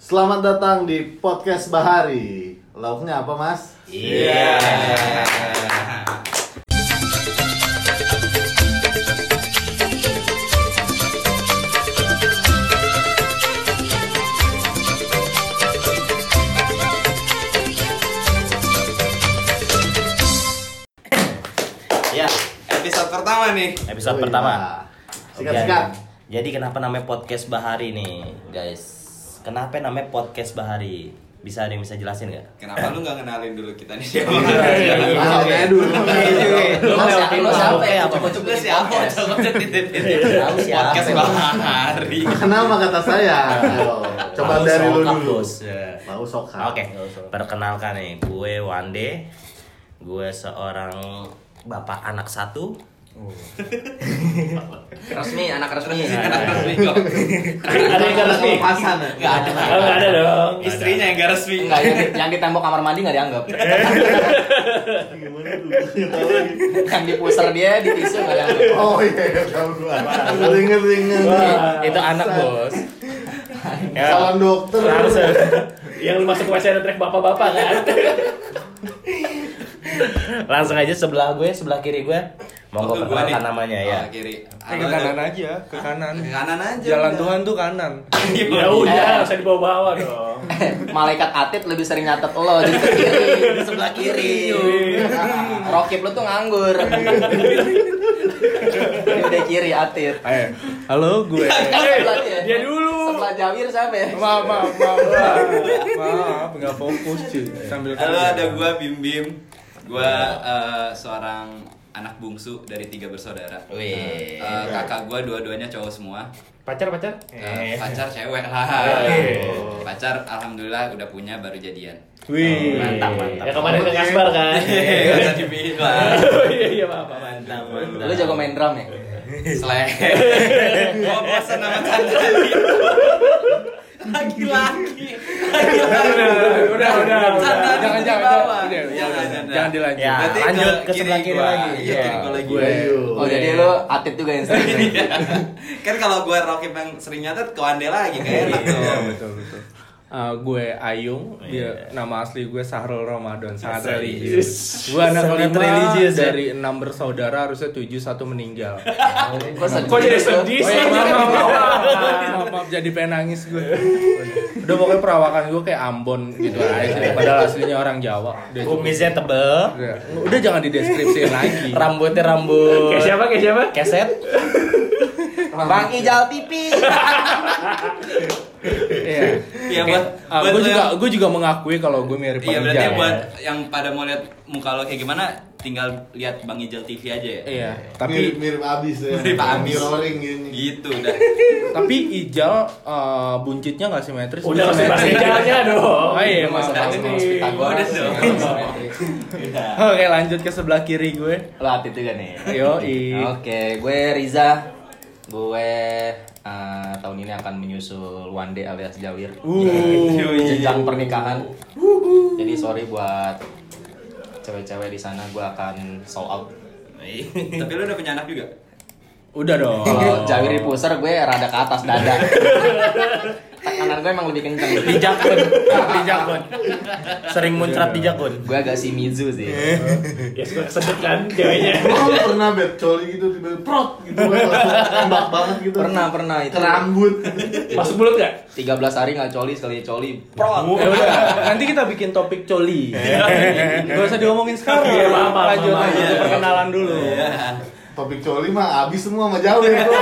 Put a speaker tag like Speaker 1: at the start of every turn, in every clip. Speaker 1: Selamat datang di podcast Bahari. Lauknya apa, Mas?
Speaker 2: Iya. Ya, episode pertama nih.
Speaker 3: Episode
Speaker 1: Wih,
Speaker 3: pertama.
Speaker 1: wah. Oh, iya. Sikat-sikat.
Speaker 3: Oke. Jadi kenapa namanya podcast Bahari nih, guys? Kenapa namanya podcast Bahari? Bisa ada yang bisa jelasin nggak?
Speaker 2: Kenapa lu nggak kenalin dulu kita nih siapa?
Speaker 1: Iya, iya, iya.
Speaker 2: Oke.
Speaker 1: Oke, dulu.
Speaker 3: Lu lewatin
Speaker 4: Lu
Speaker 3: apa?
Speaker 4: siapa ya?
Speaker 3: Iya,
Speaker 4: Cukup-cukup
Speaker 2: Lu siapa? Coba titit titit.
Speaker 3: Tahu siapa?
Speaker 2: Podcast Bahari.
Speaker 1: Kenapa kata saya? Ayo, coba
Speaker 3: Tahu
Speaker 1: dari lu
Speaker 3: sokap,
Speaker 1: dulu.
Speaker 3: Bos. Ya.
Speaker 1: Bau sokap.
Speaker 3: Oke, perkenalkan nih, gue Wande. Gue seorang bapak anak satu. Oh.
Speaker 4: Resmi, anak resmi.
Speaker 2: Anak resmi kok.
Speaker 3: Iya, Ada yang nggak resmi?
Speaker 1: Pasan.
Speaker 4: Enggak ada.
Speaker 3: Oh, nggak ada dong.
Speaker 2: Istrinya yang gak resmi.
Speaker 4: Enggak, yang, di- yang di tembok kamar mandi nggak dianggap.
Speaker 1: Gimana dulu? Nggak tahu lagi.
Speaker 4: Yang di pusar dia di tisu nggak dianggap.
Speaker 1: Oh iya, iya, tahu gua. Dengar dengar.
Speaker 3: Wah, itu anak bos. Ya.
Speaker 1: Calon dokter.
Speaker 3: Langsung.
Speaker 5: yang lu masuk ke WC ada track bapak-bapak kan
Speaker 3: Langsung aja sebelah gue, sebelah kiri gue. Monggo
Speaker 2: Waktu gua nih.
Speaker 3: perkenalkan namanya ya.
Speaker 2: Oh, Kiri.
Speaker 6: Eh, ke kanan
Speaker 2: ya.
Speaker 6: aja, ke kanan.
Speaker 2: Ke kanan aja.
Speaker 6: Jalan
Speaker 2: udah. Iya,
Speaker 6: Tuhan tuh kanan.
Speaker 5: ya udah nggak usah dibawa-bawa dong
Speaker 4: Eh, Malaikat atlet lebih sering nyatet lo jadi ke kiri, di sebelah kiri. Rokib lu tuh nganggur. Dia udah kiri atlet.
Speaker 6: Eh, halo gue.
Speaker 4: Sebelah dia.
Speaker 5: dia dulu
Speaker 4: Sebelah Jawir siapa ya?
Speaker 6: Maaf, maaf, maaf, maaf, maaf, nggak fokus cuy. Sambil
Speaker 2: Halo,
Speaker 6: kerja.
Speaker 2: ada gua Bim Bim. Gua eh, seorang anak bungsu dari tiga bersaudara.
Speaker 3: Wih.
Speaker 2: Eh, kakak gua dua-duanya cowok semua.
Speaker 5: pacar-pacar
Speaker 2: Eh, pacar cewek lah. Pacar alhamdulillah udah punya baru jadian.
Speaker 6: Wih,
Speaker 4: Oh,
Speaker 3: Mantap, mantap.
Speaker 5: ya kemarin ke Kasbar kan
Speaker 2: Gak usah dibilang.
Speaker 5: oh iya iya apa
Speaker 3: Mantap, mantap.
Speaker 4: Lu jago main drum ya?
Speaker 2: Seleh. Gua bosan sama tanda. Laki-laki. Laki-laki.
Speaker 6: udah, udah, udah.
Speaker 2: Jangan,
Speaker 6: Jangan, jangan,
Speaker 2: jangan,
Speaker 6: jangan,
Speaker 2: jangan.
Speaker 6: Udah, udah,
Speaker 2: Jangan,
Speaker 6: udah.
Speaker 2: jangan.
Speaker 6: jangan dilanjut.
Speaker 3: Ya,
Speaker 2: Berarti
Speaker 3: lanjut
Speaker 2: Nah, ke
Speaker 3: ke
Speaker 2: kiri
Speaker 3: sebelah kiri
Speaker 2: gua.
Speaker 3: lagi.
Speaker 2: Iya,
Speaker 3: Ya.
Speaker 2: kiri gua lagi.
Speaker 3: Gue.
Speaker 4: Oh jadi lu atlet juga yang sering.
Speaker 2: kan kalau gue Rocky yang sering nyatet ke Wande lagi kayak gitu.
Speaker 6: Iya, betul, betul. Eh, gue Ayung, dia nama asli gue Sahrul Ramadan, sangat religius. Gue anak
Speaker 3: Sangat
Speaker 6: kelima
Speaker 3: religius, ya.
Speaker 6: dari enam bersaudara, harusnya tujuh satu meninggal.
Speaker 4: Kok sedih gitu.
Speaker 5: kok
Speaker 4: lu?
Speaker 5: jadi sedih
Speaker 6: Oh
Speaker 5: sih
Speaker 6: iya, maaf, maaf, maaf, maaf, maaf, maaf, maaf, jadi pengen nangis gue. Udah pokoknya perawakan gue kayak Ambon gitu aja sih, padahal aslinya orang Jawa. Udah,
Speaker 3: Kumisnya tebel,
Speaker 6: udah, udah jangan dideskripsiin lagi.
Speaker 3: rambutnya rambut.
Speaker 5: kayak siapa kayak siapa
Speaker 3: Keset.
Speaker 4: Bang Ijal TV.
Speaker 6: Iya.
Speaker 2: Iya, buat-
Speaker 6: Ah,
Speaker 2: buat
Speaker 6: gue
Speaker 2: lo
Speaker 6: juga
Speaker 2: yang-
Speaker 6: gue juga mengakui kalau gue mirip
Speaker 2: Iya
Speaker 6: ya. Bang
Speaker 2: berarti
Speaker 6: Ijal.
Speaker 2: buat yang pada mau lihat muka lo kayak gimana tinggal lihat Bang Ijal TV aja ya.
Speaker 6: Iya.
Speaker 1: Mirip,
Speaker 6: Tapi
Speaker 1: mirip abis ya.
Speaker 2: Mirip abis.
Speaker 1: Mirroring gini.
Speaker 2: Gitu udah.
Speaker 6: tapi Ijal eh, buncitnya nggak simetris.
Speaker 5: udah
Speaker 6: Gue
Speaker 5: kasih bahasa
Speaker 6: simetris.
Speaker 5: jalannya dong
Speaker 6: Oh iya, maaf.
Speaker 4: Masa
Speaker 6: maaf.
Speaker 4: tahu
Speaker 2: ini.
Speaker 4: Mas Pitagoras.
Speaker 2: Udah dong. Udah.
Speaker 6: Oke, lanjut ke sebelah kiri gue.
Speaker 4: Lo atlet juga nih.
Speaker 6: Yoi.
Speaker 4: Oke, gue Riza. Gue eh, tahun ini akan menyusul Wande alias Jawir.
Speaker 6: Uh.
Speaker 4: Jenjang pernikahan. Jadi sorry buat cewek-cewek di sana gue akan sold out.
Speaker 2: Iya. Tapi lo udah punya anak juga.
Speaker 6: Udah dong.
Speaker 4: Jawir di pusar gue rada ke atas dada. Tekanan gue emang lebih kenceng.
Speaker 3: Di jakun, di jakun. Sering muncrat di jakun.
Speaker 4: Gue agak si Mizu sih.
Speaker 5: ya suka kesedot kan ceweknya
Speaker 1: Oh, lu pernah beb coli gitu tiba-tiba prot gitu langsung tembak banget gitu.
Speaker 4: Pernah, pernah itu.
Speaker 1: Ke rambut.
Speaker 5: masuk mulut nggak
Speaker 4: 13 hari nggak coli sekali coli. Pro.
Speaker 6: Ya udah, nanti kita bikin topik coli. Gak usah diomongin sekarang.
Speaker 5: Iya, maaf, maaf,
Speaker 6: lanjut
Speaker 5: maaf.
Speaker 6: lanjut
Speaker 2: Iya.
Speaker 6: perkenalan dulu.
Speaker 1: Topik coli mah abis semua sama Jawa ya, bro.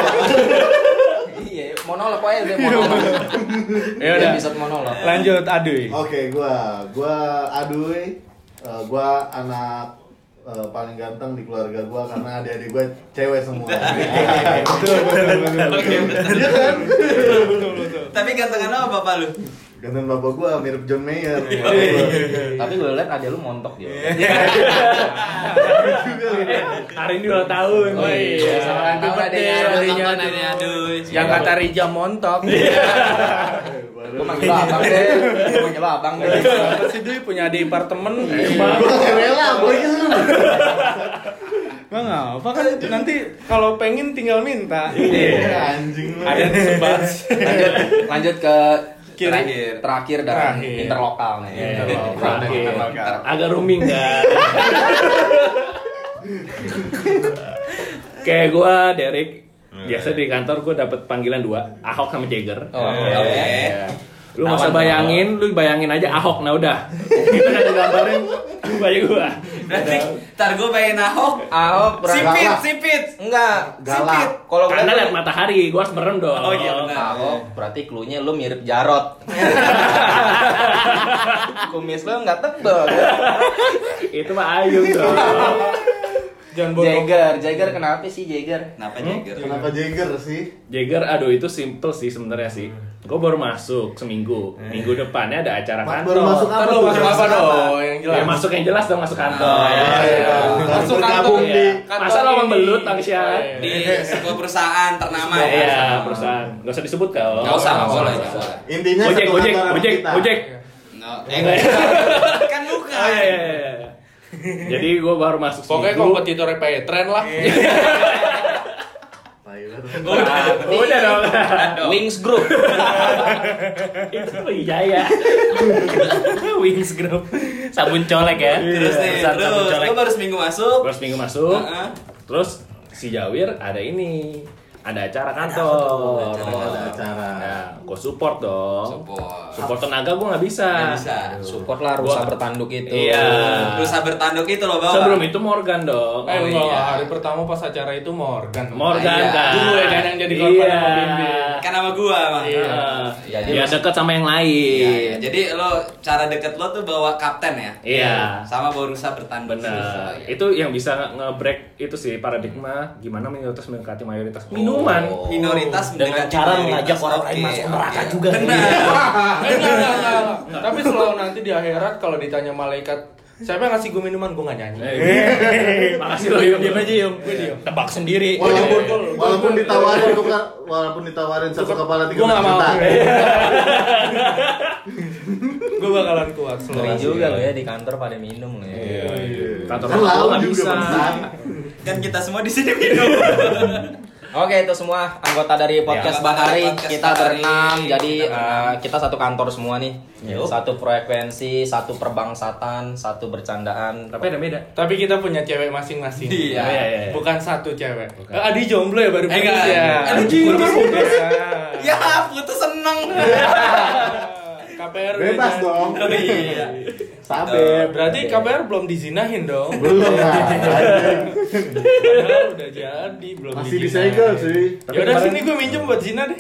Speaker 4: Iya, monolog aja deh monolog.
Speaker 6: Ya udah.
Speaker 4: Episode monolog.
Speaker 6: Lanjut aduy.
Speaker 1: Oke, gua gua aduy. Eh, gua anak eh, paling ganteng di keluarga gua karena adik-adik gua cewek semua.
Speaker 2: Oke, betul. Tapi gantengan apa bapak lu?
Speaker 1: Ganteng bapak gua mirip John Mayer. iya,
Speaker 6: Iya.
Speaker 4: Tapi gue liat ada lu montok dia.
Speaker 5: Eh, hari ini ulang tahun
Speaker 4: Oh iya, sama kan tahu adanya.
Speaker 6: Adanya,
Speaker 2: Nonton
Speaker 6: aduy. Iya.
Speaker 2: ini, aduh.
Speaker 6: Yang kata Rija montok.
Speaker 4: Gue manggil lo abang deh. Gue manggil lo abang deh.
Speaker 6: Apa sih Duy punya adik apartemen?
Speaker 1: Gua gak rela, gua gitu.
Speaker 6: Bang, apa kan nanti kalau pengen tinggal minta.
Speaker 1: Anjing lu.
Speaker 6: Ada sebat.
Speaker 4: Iya. Lanjut, lanjut ke
Speaker 6: Kiri.
Speaker 2: terakhir.
Speaker 4: Terakhir dan
Speaker 6: Terakhir.
Speaker 4: interlokal nih.
Speaker 5: Iya.
Speaker 6: Terakhir.
Speaker 5: Terakhir. Agak rooming kan. Kayak gue Derek biasa di kantor gue dapet panggilan dua Ahok sama Jagger.
Speaker 4: Oh, oke.
Speaker 2: iya,
Speaker 5: Lu nggak usah bayangin, lu bayangin aja Ahok, nah udah. Kita ada gambarin bayang gua.
Speaker 2: Berarti ntar gue pengen Ahok.
Speaker 4: Ahok berangkat.
Speaker 2: Sipit,
Speaker 1: galak.
Speaker 2: sipit.
Speaker 4: Enggak,
Speaker 1: Galak.
Speaker 4: sipit. Kalau gue
Speaker 5: Karena lihat matahari, gua harus merem dong.
Speaker 2: Oh iya benar.
Speaker 4: Ahok berarti clue-nya lu mirip Jarot. Kumis lu nggak tebel.
Speaker 5: Itu mah Ayung dong.
Speaker 6: Jangan bodoh.
Speaker 4: Jagger, Jagger kenapa sih Jagger?
Speaker 5: Hmm?
Speaker 2: Kenapa Jagger?
Speaker 1: Kenapa Jagger sih?
Speaker 5: Jagger, aduh itu simple sih sebenarnya sih. Gua baru masuk seminggu. Minggu depannya ada acara
Speaker 1: Ma-
Speaker 5: kantor.
Speaker 1: Baru masuk
Speaker 6: Ntar
Speaker 1: apa
Speaker 6: lu
Speaker 1: tuh?
Speaker 6: masuk apa dong? Yang jelas.
Speaker 5: Ya masuk yang jelas dong masuk kantor.
Speaker 2: Oh,
Speaker 5: Ya,
Speaker 1: iya,
Speaker 5: ya.
Speaker 1: iya. Baru
Speaker 4: Masuk kantor.
Speaker 1: bergabung di
Speaker 4: Kantor
Speaker 5: Masa lo
Speaker 4: ini.
Speaker 5: membelut Bang Syah?
Speaker 2: Di sebuah perusahaan ternama ya.
Speaker 5: Iya, perusahaan. Gak usah disebut kalau.
Speaker 2: Gak usah, gak boleh, gak boleh.
Speaker 1: Intinya
Speaker 5: Gojek,
Speaker 1: satu
Speaker 5: Gojek,
Speaker 1: kantor sama
Speaker 5: Gojek,
Speaker 1: kita.
Speaker 5: Gojek.
Speaker 2: No, eh, kan bukan.
Speaker 5: Oh, iya, iya, iya. Jadi gue baru masuk
Speaker 6: Pokoknya
Speaker 5: seminggu.
Speaker 6: kompetitornya Petren lah.
Speaker 1: Tai banget.
Speaker 4: Iya.
Speaker 5: Udah dong.
Speaker 4: Wings Group.
Speaker 5: Itu Wijaya.
Speaker 3: Wings Group. Sabun colek ya.
Speaker 2: Iya. Terus nih,
Speaker 3: Perusahaan sabun
Speaker 2: terus
Speaker 3: colek.
Speaker 2: lo baru seminggu masuk.
Speaker 5: Terus minggu masuk.
Speaker 2: Heeh.
Speaker 5: Terus si Jawir ada ini. Ada acara kantor.
Speaker 2: Ada apa tuh?
Speaker 1: Ada acara.
Speaker 5: Nah, gue support
Speaker 2: Oh,
Speaker 5: dong.
Speaker 2: Support.
Speaker 5: Support tenaga gue nggak bisa.
Speaker 2: Nggak bisa.
Speaker 4: Support lah rusa
Speaker 5: Gua-
Speaker 4: bertanduk itu.
Speaker 5: Iya.
Speaker 2: Perusahaan bertanduk itu lo bawa.
Speaker 5: Sebelum itu Morgan dong.
Speaker 6: Eh
Speaker 2: Oh,
Speaker 6: enggak,
Speaker 2: iya.
Speaker 6: hari pertama pas acara itu Morgan.
Speaker 5: Morgan
Speaker 4: Iya.
Speaker 5: kan.
Speaker 6: Dulu ya kan yang jadi korban
Speaker 5: Iya.
Speaker 6: sama Bimbing.
Speaker 2: kan sama gua, Bang.
Speaker 5: Iya.
Speaker 4: Iya,
Speaker 5: Dia dekat sama yang
Speaker 2: Iya, iya.
Speaker 5: lain.
Speaker 2: Jadi lo cara deket lo tuh bawa kapten ya.
Speaker 5: Iya.
Speaker 2: Sama bawa rusa bertanduk.
Speaker 5: Benar.
Speaker 3: ya.
Speaker 2: Iya.
Speaker 5: Itu yang bisa nge-break itu sih paradigma gimana minoritas mendekati
Speaker 3: Oh.
Speaker 5: mayoritas.
Speaker 6: Oh.
Speaker 5: Minuman.
Speaker 2: Oh, minoritas
Speaker 3: Dengan
Speaker 2: mendekati
Speaker 3: cara
Speaker 2: mayoritas.
Speaker 3: mengajak orang lain
Speaker 2: Oke,
Speaker 3: masuk
Speaker 2: oke.
Speaker 3: neraka
Speaker 4: Iya.
Speaker 3: juga. Iya.
Speaker 2: Benar.
Speaker 6: Eh, enggak, enggak, enggak, enggak. Tapi selalu nanti di akhirat kalau ditanya malaikat, siapa yang ngasih gue minuman? Gue nggak
Speaker 2: Eh,
Speaker 6: nyanyi.
Speaker 2: iya.
Speaker 3: Eh.
Speaker 5: Makasih lo Yung.
Speaker 3: Yung. Tebak sendiri.
Speaker 1: Walaupun
Speaker 6: Iya, iya.
Speaker 1: walaupun ditawarin tukar walaupun ditawarin satu kepala tiga
Speaker 6: Gua nggak mau.
Speaker 1: juta.
Speaker 6: gue bakalan kuat selalu.
Speaker 4: Ngeri juga lo ya di kantor pada minum lo
Speaker 3: Iya.
Speaker 5: Iya,
Speaker 4: ya.
Speaker 5: Kantor
Speaker 1: Kan
Speaker 5: aku
Speaker 1: lalu
Speaker 5: nggak
Speaker 1: juga
Speaker 5: bisa.
Speaker 1: pesan.
Speaker 2: Kan kita semua di sini minum.
Speaker 4: Oke itu semua anggota
Speaker 3: Iya,
Speaker 4: dari podcast
Speaker 2: Ya, anggota dari
Speaker 4: Bahari
Speaker 2: podcast
Speaker 4: kita
Speaker 2: Bahari.
Speaker 4: berenam jadi
Speaker 2: Kita berenam.
Speaker 4: eh, kita satu kantor semua nih
Speaker 3: Yup.
Speaker 4: satu frekuensi satu perbangsatan satu bercandaan
Speaker 5: Tapi ada beda.
Speaker 6: Tapi kita punya cewek masing-masing.
Speaker 3: Ya.
Speaker 2: Iya.
Speaker 5: Oh, iya, iya.
Speaker 6: Bukan satu cewek. Eh, Adi jomblo ya baru
Speaker 2: Eh, enggak. Adi
Speaker 6: jomblo
Speaker 2: ya, putus seneng.
Speaker 6: KPR udah
Speaker 1: Bebas
Speaker 6: jadi.
Speaker 1: dong.
Speaker 2: Iya.
Speaker 1: Sabep.
Speaker 6: Berarti KPR belum dizinahin dong.
Speaker 1: Belum lah. anjing.
Speaker 6: Padahal udah jadi, belum
Speaker 1: Masih
Speaker 6: dizinahin.
Speaker 1: disegel sih.
Speaker 6: Ya udah sini gue minjem buat zina deh.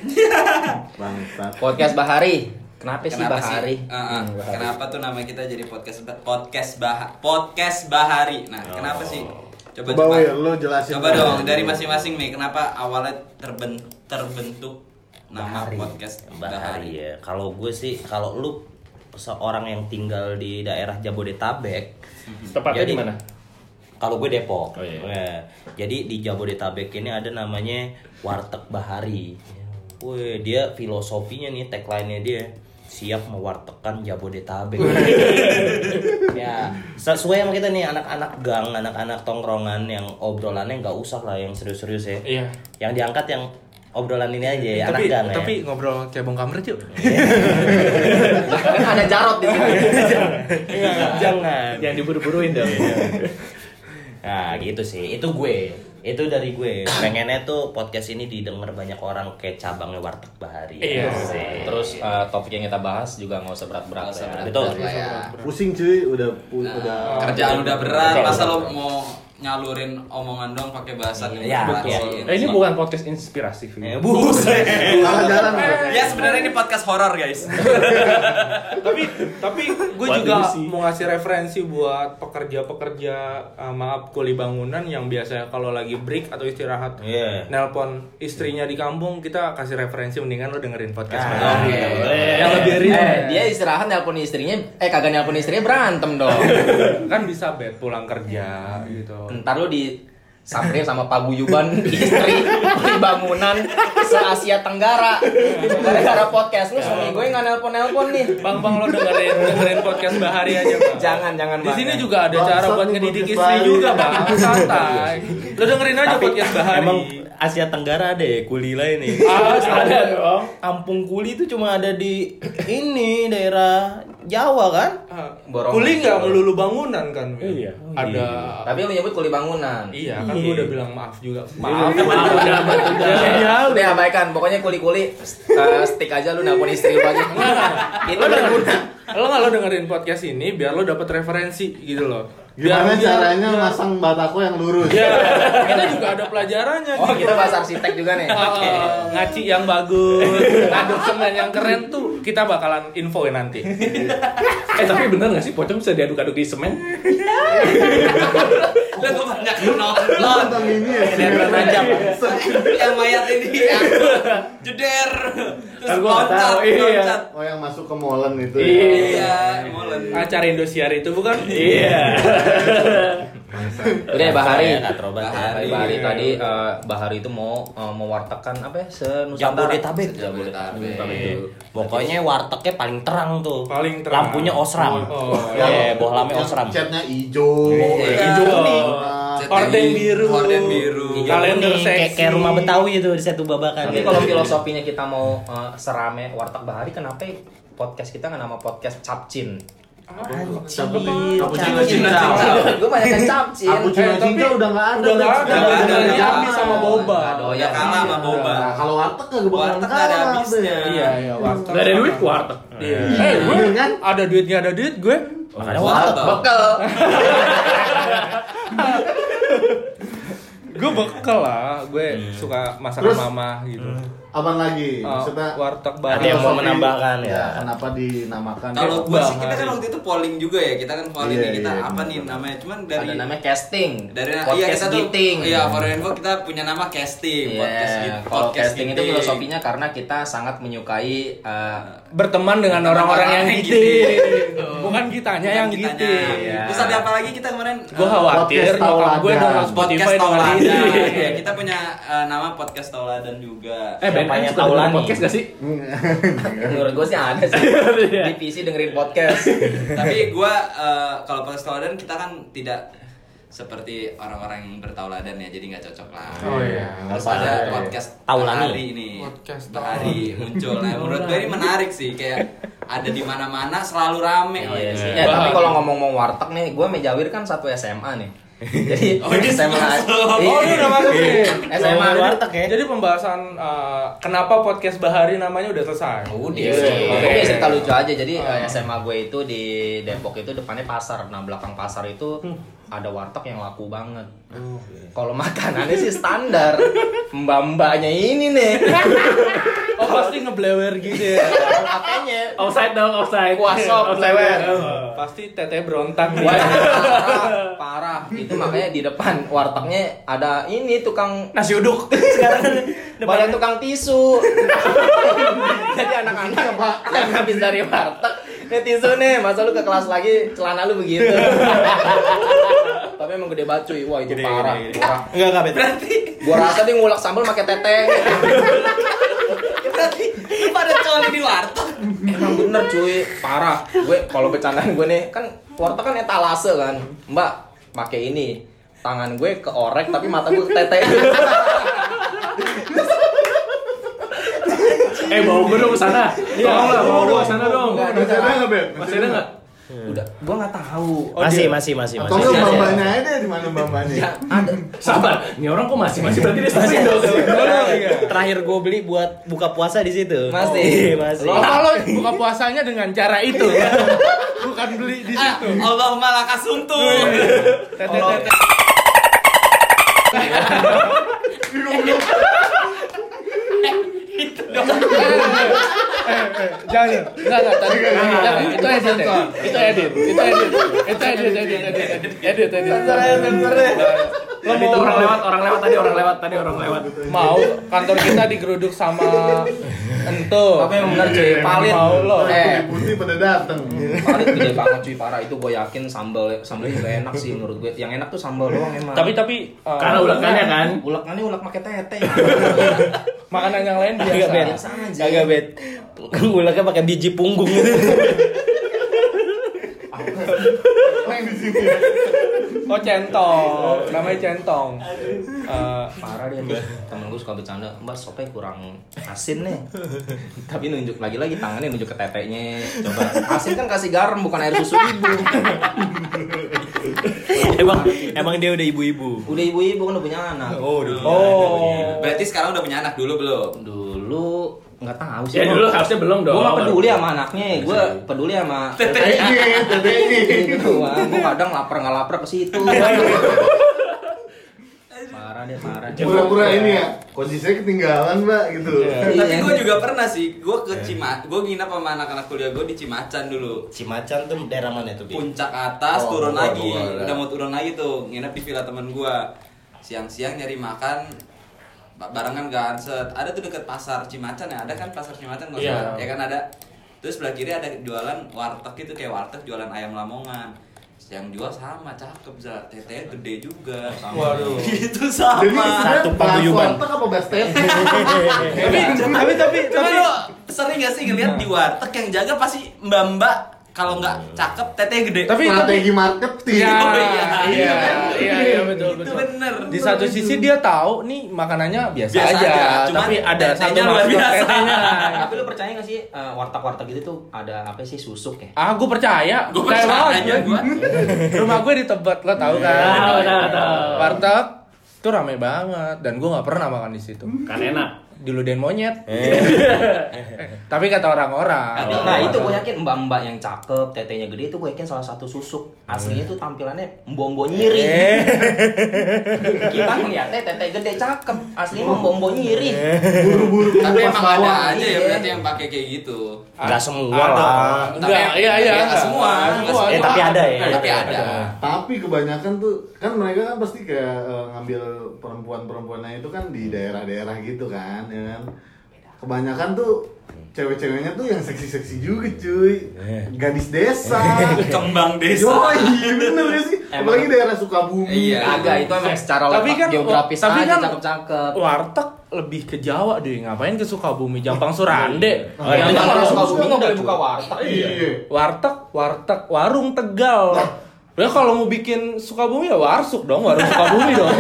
Speaker 1: Bangsat.
Speaker 4: podcast Bahari kenapa, sih Bahari
Speaker 2: Eh, eh,
Speaker 3: Hmm,
Speaker 2: Kenapa tuh nama kita jadi podcast Ba- podcast bah podcast Bahari? Nah,
Speaker 3: Oh.
Speaker 2: kenapa sih? Coba
Speaker 1: Coba Wil, ya, lu jelasin.
Speaker 2: Coba dong dari masing-masing nih kenapa awalnya terben- terbentuk nama podcast
Speaker 3: Bahari
Speaker 2: Bahari.
Speaker 3: ya. Kalau gue sih, kalau lu seorang yang tinggal di daerah Jabodetabek,
Speaker 5: Tepatnya
Speaker 3: Jadi-
Speaker 5: di mana?
Speaker 3: kalau gue Depok.
Speaker 5: Oh, iya.
Speaker 3: Nah, jadi di Jabodetabek ini ada namanya Warteg Bahari. Wih, dia filosofinya nih tagline-nya dia siap mewartekan Jabodetabek. ya, sesuai sama kita nih anak-anak gang, anak-anak tongkrongan yang obrolannya nggak usah lah yang serius-serius ya.
Speaker 6: Iya.
Speaker 3: Yang diangkat yang obrolan ini aja
Speaker 4: Iya,
Speaker 3: ya,
Speaker 6: tapi
Speaker 3: anak gang
Speaker 6: tapi
Speaker 3: ya.
Speaker 6: ngobrol cebong kamar yuk.
Speaker 4: kan ada Jarot di sini iya.
Speaker 3: Jangan. Iya.
Speaker 5: Jangan diburu-buruin dong.
Speaker 3: Nah gitu sih, itu gue Itu dari gue Pengennya tuh podcast ini didengar banyak orang Kayak cabangnya Warteg Bahari
Speaker 6: Iya.
Speaker 3: Asik.
Speaker 4: terus eh, topik yang kita bahas juga nggak usah berat-berat
Speaker 2: Nggak usah
Speaker 4: ya.
Speaker 2: berat-berat.
Speaker 3: Betul.
Speaker 2: lah ya.
Speaker 1: Pusing cuy, udah pu-
Speaker 2: Nah,
Speaker 1: udah
Speaker 2: kerjaan udah berat,
Speaker 3: Betul,
Speaker 2: masa lo
Speaker 3: betul.
Speaker 2: mau nyalurin omongan dong pakai bahasa yang
Speaker 3: Iya,
Speaker 2: berat
Speaker 3: betul.
Speaker 2: sih.
Speaker 5: Eh, ini bukan podcast inspirasi
Speaker 3: Eh,
Speaker 5: Vin.
Speaker 3: buset.
Speaker 1: salah jalan. Wil.
Speaker 2: Ya sebenarnya ini podcast horor guys.
Speaker 6: tapi tapi gue
Speaker 5: Buat
Speaker 6: juga
Speaker 5: ilusi.
Speaker 6: mau ngasih referensi buat pekerja-pekerja eh, maaf kuli bangunan yang biasanya kalau lagi break atau istirahat
Speaker 3: Iya.
Speaker 6: nelpon istrinya di kampung kita kasih referensi mendingan lo dengerin podcast
Speaker 3: Ah,
Speaker 6: mereka.
Speaker 3: oke.
Speaker 4: Iya.
Speaker 6: yang lebih real
Speaker 4: Nah, eh, dia istirahat nelpon istrinya eh kagak nelpon istrinya berantem dong Hmm.
Speaker 6: kan bisa bed pulang kerja gitu
Speaker 4: ntar lu di Sapri sama paguyuban istri di bangunan se Asia Tenggara gara-gara podcast lu suami gue nggak nelpon nelpon nih
Speaker 5: Bang Bang lo dengerin dengerin podcast Bahari aja bang.
Speaker 4: jangan
Speaker 3: Kan
Speaker 4: jangan
Speaker 6: Di
Speaker 4: Bang.
Speaker 6: sini juga ada
Speaker 1: Bangsat
Speaker 6: cara buat
Speaker 1: lu,
Speaker 6: ngedidik
Speaker 1: Budi
Speaker 6: istri
Speaker 1: Bali.
Speaker 6: juga bang, santai. Lo dengerin aja podcast Bahari.
Speaker 3: Emang Asia Tenggara ada ya kuli lain nih.
Speaker 5: Ah, ada dong.
Speaker 3: Kampung kuli itu cuma ada di ini daerah Jawa kan?
Speaker 4: Borong.
Speaker 6: Kuli nggak melulu bangunan kan? Wil?
Speaker 5: Iya.
Speaker 6: Ada.
Speaker 4: tapi lu nyebut kuli bangunan Iya.
Speaker 6: Iya, kan gue udah bilang maaf juga.
Speaker 5: Maaf,
Speaker 6: Maaf.
Speaker 5: udah, udah.
Speaker 6: Iya.
Speaker 4: udah abaikan pokoknya kuli kuli stick aja lu nelpon istri lu aja itu
Speaker 6: Lo
Speaker 4: berguna
Speaker 6: dengerin, lo nggak lo dengerin podcast ini biar lo dapet referensi gitu loh. Biar
Speaker 1: Gimana
Speaker 6: biar-
Speaker 1: caranya
Speaker 6: biar-
Speaker 1: masang batako yang lurus?
Speaker 6: Iya. Kita juga ada pelajarannya.
Speaker 4: oh
Speaker 6: gitu. Ah,
Speaker 4: kita bahas arsitek juga nih
Speaker 6: Oke. ngaci yang bagus, adukan yang keren tuh kita bakalan infoin nanti.
Speaker 5: Eh tapi bener gak sih pocong bisa diaduk-aduk di semen?
Speaker 2: Lu kebanyakan nonton
Speaker 1: Tentang ini ya.
Speaker 3: Sinetron aja.
Speaker 2: yang mayat ini diangkut. jeder terus
Speaker 5: Kan gua nggak
Speaker 2: loncat
Speaker 5: tahu, iya.
Speaker 2: loncat
Speaker 1: Oh yang masuk ke molen itu. ya?
Speaker 2: iya molen
Speaker 6: Acara Indosiar itu bukan?
Speaker 3: Iya.
Speaker 5: Iya.
Speaker 4: udah ya Bahari
Speaker 3: Saya nggak terobat ya.
Speaker 4: Bahari, Bahari tadi eh, Bahari itu mau eh, mewartakan apa ya senusantara
Speaker 3: Jabodetabek.
Speaker 4: Jabodetabek
Speaker 2: Iya.
Speaker 3: Pokoknya wartegnya paling terang tuh.
Speaker 6: Paling terang.
Speaker 3: Lampunya osram.
Speaker 6: Oh, oh,
Speaker 4: Eh,
Speaker 3: Iya, bohlamnya osram.
Speaker 1: Catnya hijau. Nah,
Speaker 6: Hijau kuning.
Speaker 1: iya.
Speaker 6: Orden biru.
Speaker 2: orden biru
Speaker 6: Hijau.
Speaker 3: Hijau
Speaker 6: Kalender
Speaker 3: kuning, kayak,
Speaker 6: seksi.
Speaker 3: kayak rumah Betawi itu di satu babakan.
Speaker 4: Tapi kalau filosofinya kita mau eh, serame warteg bahari, kenapa podcast kita nggak nama podcast capcin? Iya.
Speaker 1: Cappuccino
Speaker 2: Cina.
Speaker 1: Cinta.
Speaker 4: Gue banyak yang capcin.
Speaker 1: Cappuccino
Speaker 6: Eh, tapi
Speaker 1: Cinta udah nggak ada.
Speaker 6: udah nggak ada,
Speaker 1: Udah nggak
Speaker 2: udah
Speaker 1: ada.
Speaker 2: nggak
Speaker 1: Nggak
Speaker 2: ada.
Speaker 1: sama boba.
Speaker 4: Nggak
Speaker 2: ya
Speaker 4: doyan.
Speaker 2: kalah sama boba
Speaker 1: Nah, kalau warteg nggak bakalan
Speaker 2: Warteg nggak ada
Speaker 1: kalah,
Speaker 2: habisnya.
Speaker 1: Beh.
Speaker 6: Iya, iya, warteg.
Speaker 5: Gak ada duit warteg.
Speaker 6: Iya. Eh,
Speaker 1: Iya,
Speaker 6: gue
Speaker 1: kan?
Speaker 6: ada duit nggak ada duit gue?
Speaker 3: Makanya warteg.
Speaker 2: Warteg.
Speaker 4: Bekel.
Speaker 6: Gue bekel lah, gue suka masakan
Speaker 1: Terus?
Speaker 6: mama gitu.
Speaker 1: Apaan lagi?
Speaker 6: Eh,
Speaker 1: Maksudnya
Speaker 6: warteg
Speaker 3: Ada yang mau
Speaker 1: filosofi-
Speaker 3: menambahkan ya.
Speaker 1: Kenapa dinamakan?
Speaker 2: kalau gua sih kita kan
Speaker 6: Bahari.
Speaker 2: waktu itu polling juga ya kita kan polling
Speaker 1: Iya,
Speaker 2: nih kita
Speaker 1: iya,
Speaker 2: apa
Speaker 1: benar.
Speaker 2: nih namanya cuman dari
Speaker 4: Ada namanya casting.
Speaker 2: dari iya
Speaker 4: podcast
Speaker 2: kita tuh
Speaker 4: giting.
Speaker 2: iya for your info kita punya nama casting
Speaker 4: Iya,
Speaker 2: podcast git-
Speaker 4: kalau
Speaker 2: podcast
Speaker 4: casting itu
Speaker 2: giting.
Speaker 4: filosofinya karena kita sangat menyukai eh,
Speaker 6: berteman dengan orang-orang yang
Speaker 2: orang-orang
Speaker 6: gitu.
Speaker 2: yang
Speaker 6: Bukan kitanya yang
Speaker 2: Kitanya.
Speaker 6: gitu.
Speaker 4: Iya.
Speaker 2: terus ada apa lagi kita kemarin
Speaker 6: Gue
Speaker 2: Eh,
Speaker 6: khawatir
Speaker 1: Podcast
Speaker 6: nyokap gue
Speaker 1: tauladan.
Speaker 2: podcast
Speaker 6: download Spotify
Speaker 2: Tauladan.
Speaker 6: dengerin.
Speaker 2: Iya, kita punya eh, nama podcast Tauladan juga.
Speaker 5: Eh, Ben
Speaker 3: Siapanya
Speaker 5: Anies
Speaker 3: tahu
Speaker 5: tahu
Speaker 3: Lani.
Speaker 5: podcast gak sih?
Speaker 4: menurut gue sih ada sih
Speaker 2: Iya.
Speaker 4: di PC dengerin podcast.
Speaker 2: Tapi gua eh, kalau podcast Tauladan kita kan tidak seperti orang-orang yang bertauladan ya, jadi nggak cocok lah.
Speaker 6: Oh iya.
Speaker 2: Harus
Speaker 3: Nggak
Speaker 2: ada
Speaker 3: apa-apa.
Speaker 2: podcast
Speaker 3: Taulani.
Speaker 2: hari ini.
Speaker 6: Podcast
Speaker 2: hari muncul. Nah, menurut gue ini menarik sih, kayak ada di mana-mana selalu rame. Oh,
Speaker 4: Iya
Speaker 2: iya
Speaker 4: sih.
Speaker 2: sih.
Speaker 4: Eh, tapi kalau ngomong-ngomong warteg nih, gue mejawir kan satu SMA nih. Jadi
Speaker 2: Oh, ini masuk.
Speaker 6: Oh, ini udah masuk nih.
Speaker 3: Ngomongin
Speaker 4: SMA jadi-
Speaker 3: Iya. warteg ya.
Speaker 6: Eh, Jadi pembahasan eh, kenapa podcast Bahari namanya udah selesai.
Speaker 2: Udah.
Speaker 4: Iya sih.
Speaker 6: Oke.
Speaker 4: Oke, cerita lucu aja. Jadi eh, SMA gue itu di Depok itu depannya pasar. Nah, belakang pasar itu ada warteg yang laku banget. Kalau makanannya sih standar. Mbak-mbaknya ini nih.
Speaker 6: Oh pasti ngeblewer gitu ya.
Speaker 4: Makanya
Speaker 5: Outside dong, outside.
Speaker 4: Kuasop,
Speaker 5: Outside.
Speaker 4: lewer.
Speaker 6: pasti teteh berontak
Speaker 4: Wah,
Speaker 6: gitu.
Speaker 4: parah, parah. Itu makanya di depan wartegnya ada ini tukang
Speaker 5: Nasi uduk.
Speaker 4: banyak tukang tisu. Iya, Jadi anak-anak yang habis dari warteg, nih tisu nih, masa lu ke kelas lagi celana lu begitu. Tapi emang gede banget cuy, wah itu parah. Parah.
Speaker 3: Enggak enggak betul.
Speaker 4: Gua rasa dia ngulek sambal pakai Ya, teteng.
Speaker 2: Berarti lu pada coli di warteg.
Speaker 4: Emang bener cuy, parah. Gue kalau bercandaan gue nih kan warteg kan etalase kan. Mbak, pakai ini. Tangan gue keorek tapi mata gue teteh.
Speaker 5: Eh, bawa gue dong ke sana.
Speaker 6: Iya.
Speaker 5: Tolong lah, bawa gue ke sana dong.
Speaker 1: Masih ada nggak Ben?
Speaker 5: Masih ada nggak?
Speaker 4: Udah, gua nggak tahu.
Speaker 3: Masih masih masih
Speaker 1: Atau
Speaker 3: masih.
Speaker 1: nggak bambanya aja di mana bambanya?
Speaker 5: Sabar. Ini orang kok masih masih berarti dia masih dong.
Speaker 3: Terakhir gue beli buat buka puasa di situ. Iya,
Speaker 4: Masih.
Speaker 3: masih.
Speaker 4: Lo
Speaker 6: Apa lo buka puasanya dengan cara itu?
Speaker 4: Iya.
Speaker 6: Bukan beli di
Speaker 2: Ah,
Speaker 6: situ.
Speaker 2: Allahumma lakasuntu.
Speaker 6: Teteh teteh. Jangan. Enggak enggak tadi.
Speaker 4: Iya,
Speaker 6: Jangan, Itu edit. ya. Itu edit. Itu edit. Itu edit edit edit edit edit edit.
Speaker 4: Sensor aja, sensor aja.
Speaker 5: itu orang lewat, Gitu, orang lewat tadi, orang lewat tadi, orang lewat.
Speaker 6: mau kantor kita digeruduk sama ente
Speaker 4: Tapi yang benar cuy, palit.
Speaker 6: mau lo
Speaker 4: Eh,
Speaker 1: putih pada dateng
Speaker 2: Hmm.
Speaker 4: palit gede banget cuy, parah itu gue yakin sambal sambalnya gak enak sih menurut gue. Yang enak tuh sambal doang emang.
Speaker 3: Tapi tapi
Speaker 6: Eh,
Speaker 5: Karena ulekannya kan.
Speaker 4: ulekannya ulek pakai tete.
Speaker 6: makanan yang lain
Speaker 3: agak bet,
Speaker 6: biasa
Speaker 4: biasa aja.
Speaker 3: agak
Speaker 6: Iya.
Speaker 3: bet. Uleknya pakai biji punggung gitu.
Speaker 1: main di sini
Speaker 6: oh centong namanya centong
Speaker 4: Eh, parah dia nih. Temen gue suka bercanda, Mbak sopnya kurang asin nih. Tapi nunjuk lagi-lagi tangannya nunjuk ke tetenya. Coba asin kan kasih garam bukan air susu ibu.
Speaker 3: emang emang dia udah ibu-ibu.
Speaker 4: Udah ibu-ibu kan udah punya anak.
Speaker 3: Oh, udah.
Speaker 5: iya, gitu,
Speaker 6: oh
Speaker 2: Berarti sekarang udah punya anak dulu belum?
Speaker 4: Dulu nggak tahu sih.
Speaker 5: Ya dulu harusnya belum dong. Iya
Speaker 4: Gue gak peduli sama anaknya, gue peduli sama
Speaker 1: ini tadi ini
Speaker 4: Gue kadang lapar nggak lapar ke situ. parah deh parah.
Speaker 1: pura-pura ini ya kondisinya ketinggalan mbak gitu
Speaker 4: Iya.
Speaker 2: Tapi gue juga pernah sih, gue ke Cima, gue nginep sama anak-anak kuliah gue di Cimacan dulu.
Speaker 3: Cimacan tuh daerah mana tuh? Bi?
Speaker 2: Puncak atas
Speaker 3: Oh,
Speaker 2: turun
Speaker 3: gua-
Speaker 2: lagi,
Speaker 3: gua- gua-
Speaker 2: udah mau turun lagi tuh, nginep di villa temen gue. Siang-siang nyari makan, ba- barengan kan set. Ada tuh deket pasar Cimacan ya, ada kan pasar Cimacan nggak salah?
Speaker 6: Iya.
Speaker 2: Ya kan ada. Terus sebelah kiri ada jualan warteg itu kayak warteg jualan ayam Lamongan. Yang jual sama cakep, Za. tetenya gede juga. Sama.
Speaker 6: Waduh.
Speaker 2: Itu sama.
Speaker 1: jadi
Speaker 3: Satu paguyuban.
Speaker 1: Bahas warteg apa bahas tes?
Speaker 6: tapi tapi
Speaker 2: Cuma lo sering gak sih ngeliat di warteg yang jaga pasti mbak-mbak kalau nggak cakep tetenya gede.
Speaker 6: tapi tapi
Speaker 1: strategi marketing
Speaker 2: Oh,
Speaker 6: Iya,
Speaker 2: iya.
Speaker 6: iya,
Speaker 2: Iya,
Speaker 6: iya, iya, betul,
Speaker 2: itu
Speaker 6: betul.
Speaker 2: bener.
Speaker 6: Di satu sisi dia tahu nih makanannya biasa,
Speaker 2: Biasa
Speaker 6: aja,
Speaker 2: aja, cuman
Speaker 6: tapi ada
Speaker 2: tetenya
Speaker 6: satu
Speaker 2: luar
Speaker 6: maksud
Speaker 2: biasa.
Speaker 6: tetenya.
Speaker 4: Tapi lu percaya gak sih eh, warteg-warteg gitu tuh ada apa sih susuk ya?
Speaker 6: Ah, gue percaya.
Speaker 2: Gue percaya gue.
Speaker 6: Rumah gue di Tebet, lo tau kan?
Speaker 5: Tahu, tahu, tahu.
Speaker 6: Warteg tuh rame banget dan gue nggak pernah makan di situ.
Speaker 5: Kan enak.
Speaker 6: Diludahin monyet. Eh, Tapi kata orang-orang.
Speaker 4: Nah itu gue yakin mbak-mbak yang cakep, tetenya gede itu gue yakin salah satu susuk Aslinya tuh tampilannya mbombo nyiri Kita ngeliatnya tete gede cakep, aslinya mbombo nyiri
Speaker 1: buru-buru
Speaker 2: Tapi
Speaker 1: pas
Speaker 2: emang ada
Speaker 1: lawan.
Speaker 2: aja ya
Speaker 4: Iya.
Speaker 2: berarti yang pakai kayak gitu.
Speaker 3: Enggak semua
Speaker 6: Ada.
Speaker 3: lah.
Speaker 6: Enggak,
Speaker 2: Tapi-
Speaker 6: iya iya.
Speaker 2: tapi
Speaker 6: enggak.
Speaker 2: semua,
Speaker 6: Semua,
Speaker 2: semua.
Speaker 3: Eh, tapi ada ya.
Speaker 2: Tapi ada.
Speaker 1: tapi kebanyakan tuh kan mereka kan pasti kayak eh, ngambil perempuan-perempuannya itu kan di daerah-daerah gitu kan ya kan kebanyakan tuh cewek-ceweknya tuh yang seksi-seksi juga cuy gadis desa
Speaker 2: Eh. Kembang desa.
Speaker 1: Yoi, bener gak sih? Apalagi daerah Sukabumi
Speaker 2: Iya.
Speaker 4: Agak itu emang secara
Speaker 6: Tapi
Speaker 4: letak
Speaker 6: kan-
Speaker 4: geografis
Speaker 6: tapi
Speaker 4: aja
Speaker 6: kan-
Speaker 4: cakep-cakep
Speaker 6: Warteg lebih ke Jawa deh, ngapain ke Sukabumi, Jampang Surande.
Speaker 1: Oh, iya.
Speaker 6: Yang
Speaker 1: Iya.
Speaker 4: Kita
Speaker 6: kalau
Speaker 4: kalau suka
Speaker 1: Suka
Speaker 4: bumi nggak boleh
Speaker 1: cuy.
Speaker 4: buka warteg
Speaker 1: Iya.
Speaker 6: warteg, warteg, warung Tegal. Ya kalau mau bikin Sukabumi ya warsuk dong, warung Sukabumi dong.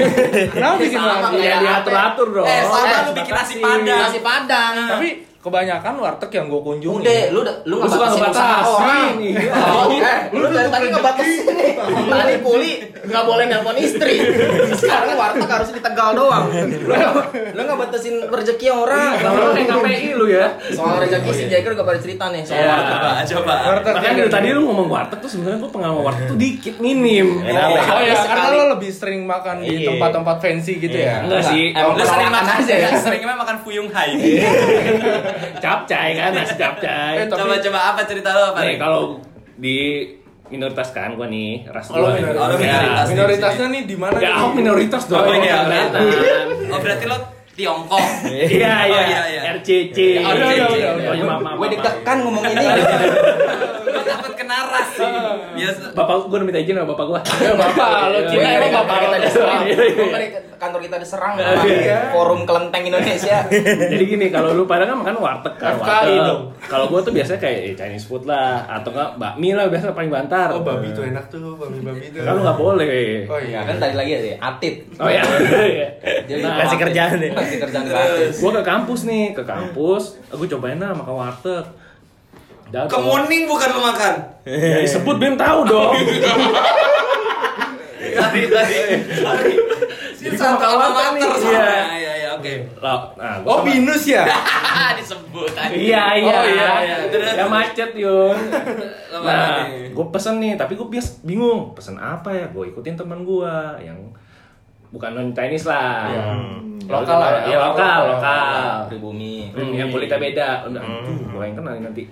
Speaker 6: Kenapa bikin warteg?
Speaker 5: Ya diatur-atur dong.
Speaker 2: Eh,
Speaker 4: Eh,
Speaker 2: sama lu bikin nasi padang.
Speaker 4: Nasi padang
Speaker 6: Tapi kebanyakan warteg yang gue kunjungi.
Speaker 4: Udah, lu udah- Iya. lu nggak
Speaker 6: suka
Speaker 4: batasin usaha
Speaker 6: ngebatasin.
Speaker 4: orang
Speaker 6: Iya.
Speaker 4: Eh, lu dari tadi ngebatasin nih. Tadi puli nggak boleh nelpon istri. Sekarang warteg harus di Tegal doang. Lu lu nggak Iya. batasin rezeki orang.
Speaker 5: Kalau kayak KPI lu ya.
Speaker 4: Soal rezeki si Jager gak pada cerita nih soal
Speaker 5: Iya.
Speaker 4: warteg.
Speaker 2: Coba, coba.
Speaker 6: Warteg
Speaker 5: Makanya dari tadi lu ngomong warteg tuh sebenarnya gua pengalaman warteg tuh dikit minim. Iya,
Speaker 3: Kenapa?
Speaker 6: Oh, oh ya,
Speaker 4: Sekali.
Speaker 6: karena lo lebih sering makan di
Speaker 3: Iya.
Speaker 6: tempat-tempat fancy gitu ya.
Speaker 5: Enggak sih.
Speaker 4: Emang
Speaker 2: Lu Nah, sering
Speaker 4: penolakan
Speaker 2: makan
Speaker 4: aja ya.
Speaker 2: Sering emang makan fuyung hai.
Speaker 5: Capcay kan, nasi capcay.
Speaker 2: Coba coba apa cerita lu apa
Speaker 5: Nih,
Speaker 2: nih?
Speaker 5: kalau di minoritas kan gua nih, ras
Speaker 6: Oh,
Speaker 5: gua.
Speaker 6: lo minoritas.
Speaker 5: Ya.
Speaker 2: minoritas.
Speaker 6: Minoritasnya nih di mana?
Speaker 5: Ya,
Speaker 6: nih?
Speaker 5: aku minoritas dong.
Speaker 2: Oh, iya,
Speaker 5: kelihatan.
Speaker 2: Oh berarti lo Tiongkok.
Speaker 5: Iya,
Speaker 2: Oh,
Speaker 5: iya, RCC.
Speaker 2: Oh,
Speaker 5: Iya,
Speaker 2: RCC.
Speaker 5: iya, iya. Oh, iya, maaf, maaf,
Speaker 4: Gue
Speaker 5: maaf.
Speaker 4: deg-degan ngomong ini.
Speaker 2: Lo takut kena ras sih. Biasa.
Speaker 5: Bapak gue minta izin sama bapak gue.
Speaker 6: Ya, bapak,
Speaker 5: Iya,
Speaker 6: lo
Speaker 4: Kita
Speaker 6: Cina
Speaker 5: iya,
Speaker 4: emang
Speaker 5: iya.
Speaker 4: bapak kita diserang.
Speaker 5: Iya, iya.
Speaker 4: Bukan di Kantor kita diserang. sama Forum Kelenteng Indonesia.
Speaker 5: Jadi gini, kalau lu pada kan makan warteg kan,
Speaker 6: FKI
Speaker 5: warteg.
Speaker 6: dong.
Speaker 5: Kalau gua tuh biasanya kayak eh, Chinese food lah, atau enggak bakmi lah biasanya paling bantar.
Speaker 6: Oh, babi itu enak tuh, babi-babi itu.
Speaker 5: Kan lu nggak boleh.
Speaker 6: Oh iya.
Speaker 4: Ya kan tadi lagi ya, Atit.
Speaker 5: Oh ya.
Speaker 3: Nah, kasih kerjaan deh.
Speaker 4: Kasih kerjaan ya. gratis.
Speaker 5: Gua ke kampus nih, ke kampus, gue cobain lah makan warteg. Datang.
Speaker 2: Kemuning bukan lu makan.
Speaker 5: Ya, disebut Bim tahu dong.
Speaker 2: Tadi tadi. Sorry. Si satu alma mater sama.
Speaker 5: Iya.
Speaker 2: Iya iya oke.
Speaker 5: Lah, nah, gua
Speaker 6: Oh,
Speaker 5: sama-
Speaker 6: binus ya?
Speaker 2: Ah disebut tadi.
Speaker 5: Iya iya.
Speaker 2: Oh, iya, iya. Terus?
Speaker 5: Ya macet yun.
Speaker 2: Lama
Speaker 5: Nah,
Speaker 2: lagi.
Speaker 5: gue pesen nih, tapi gue bias bingung pesen apa ya. Gue ikutin teman gue yang bukan non Chinese lah.
Speaker 6: Lokal lah ya?
Speaker 5: ya. lokal, lokal.
Speaker 4: Iya.
Speaker 2: Iya.
Speaker 4: Pribumi.
Speaker 5: Hmm, yang kulitnya beda. Udah, aduh, gue yang kenal nih nanti.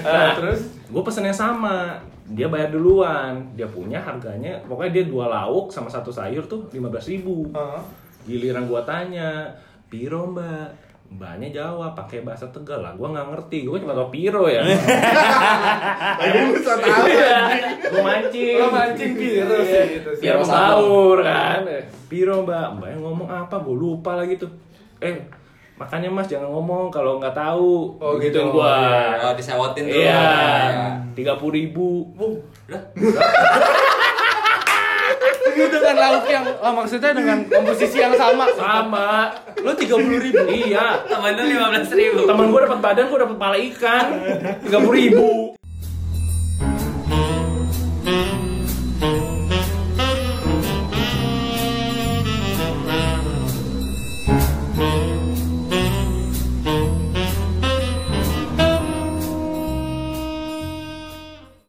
Speaker 6: Nah, terus
Speaker 5: Gue pesennya sama. dia bayar duluan dia punya harganya pokoknya dia dua lauk sama satu sayur tuh 15.000 ribu
Speaker 6: Heeh.
Speaker 5: giliran gua tanya piro mbak mbaknya jawab pakai bahasa tegal lah gua nggak ngerti gua cuma tau piro ya Iya,
Speaker 1: Lagi lu bisa tahu anjing.
Speaker 5: gua mancing Iya,
Speaker 6: Lo mancing biru sih gitu sih.
Speaker 5: biar
Speaker 4: Piro
Speaker 5: mau
Speaker 4: sama.
Speaker 5: sahur kan piro mbak mbaknya ngomong apa gua lupa lagi tuh eh makanya mas jangan ngomong kalau nggak tahu
Speaker 6: Oh,
Speaker 5: Begituin
Speaker 6: gitu.
Speaker 5: gua
Speaker 2: Oh, disewotin dulu.
Speaker 5: iya
Speaker 2: Ya.
Speaker 5: tiga puluh ribu
Speaker 6: Itu dengan lauk yang oh, maksudnya dengan komposisi yang sama.
Speaker 5: sama lo tiga puluh ribu iya
Speaker 2: Temen lu 15 ribu.
Speaker 5: temen gue dapat badan gue dapat kepala ikan tiga puluh ribu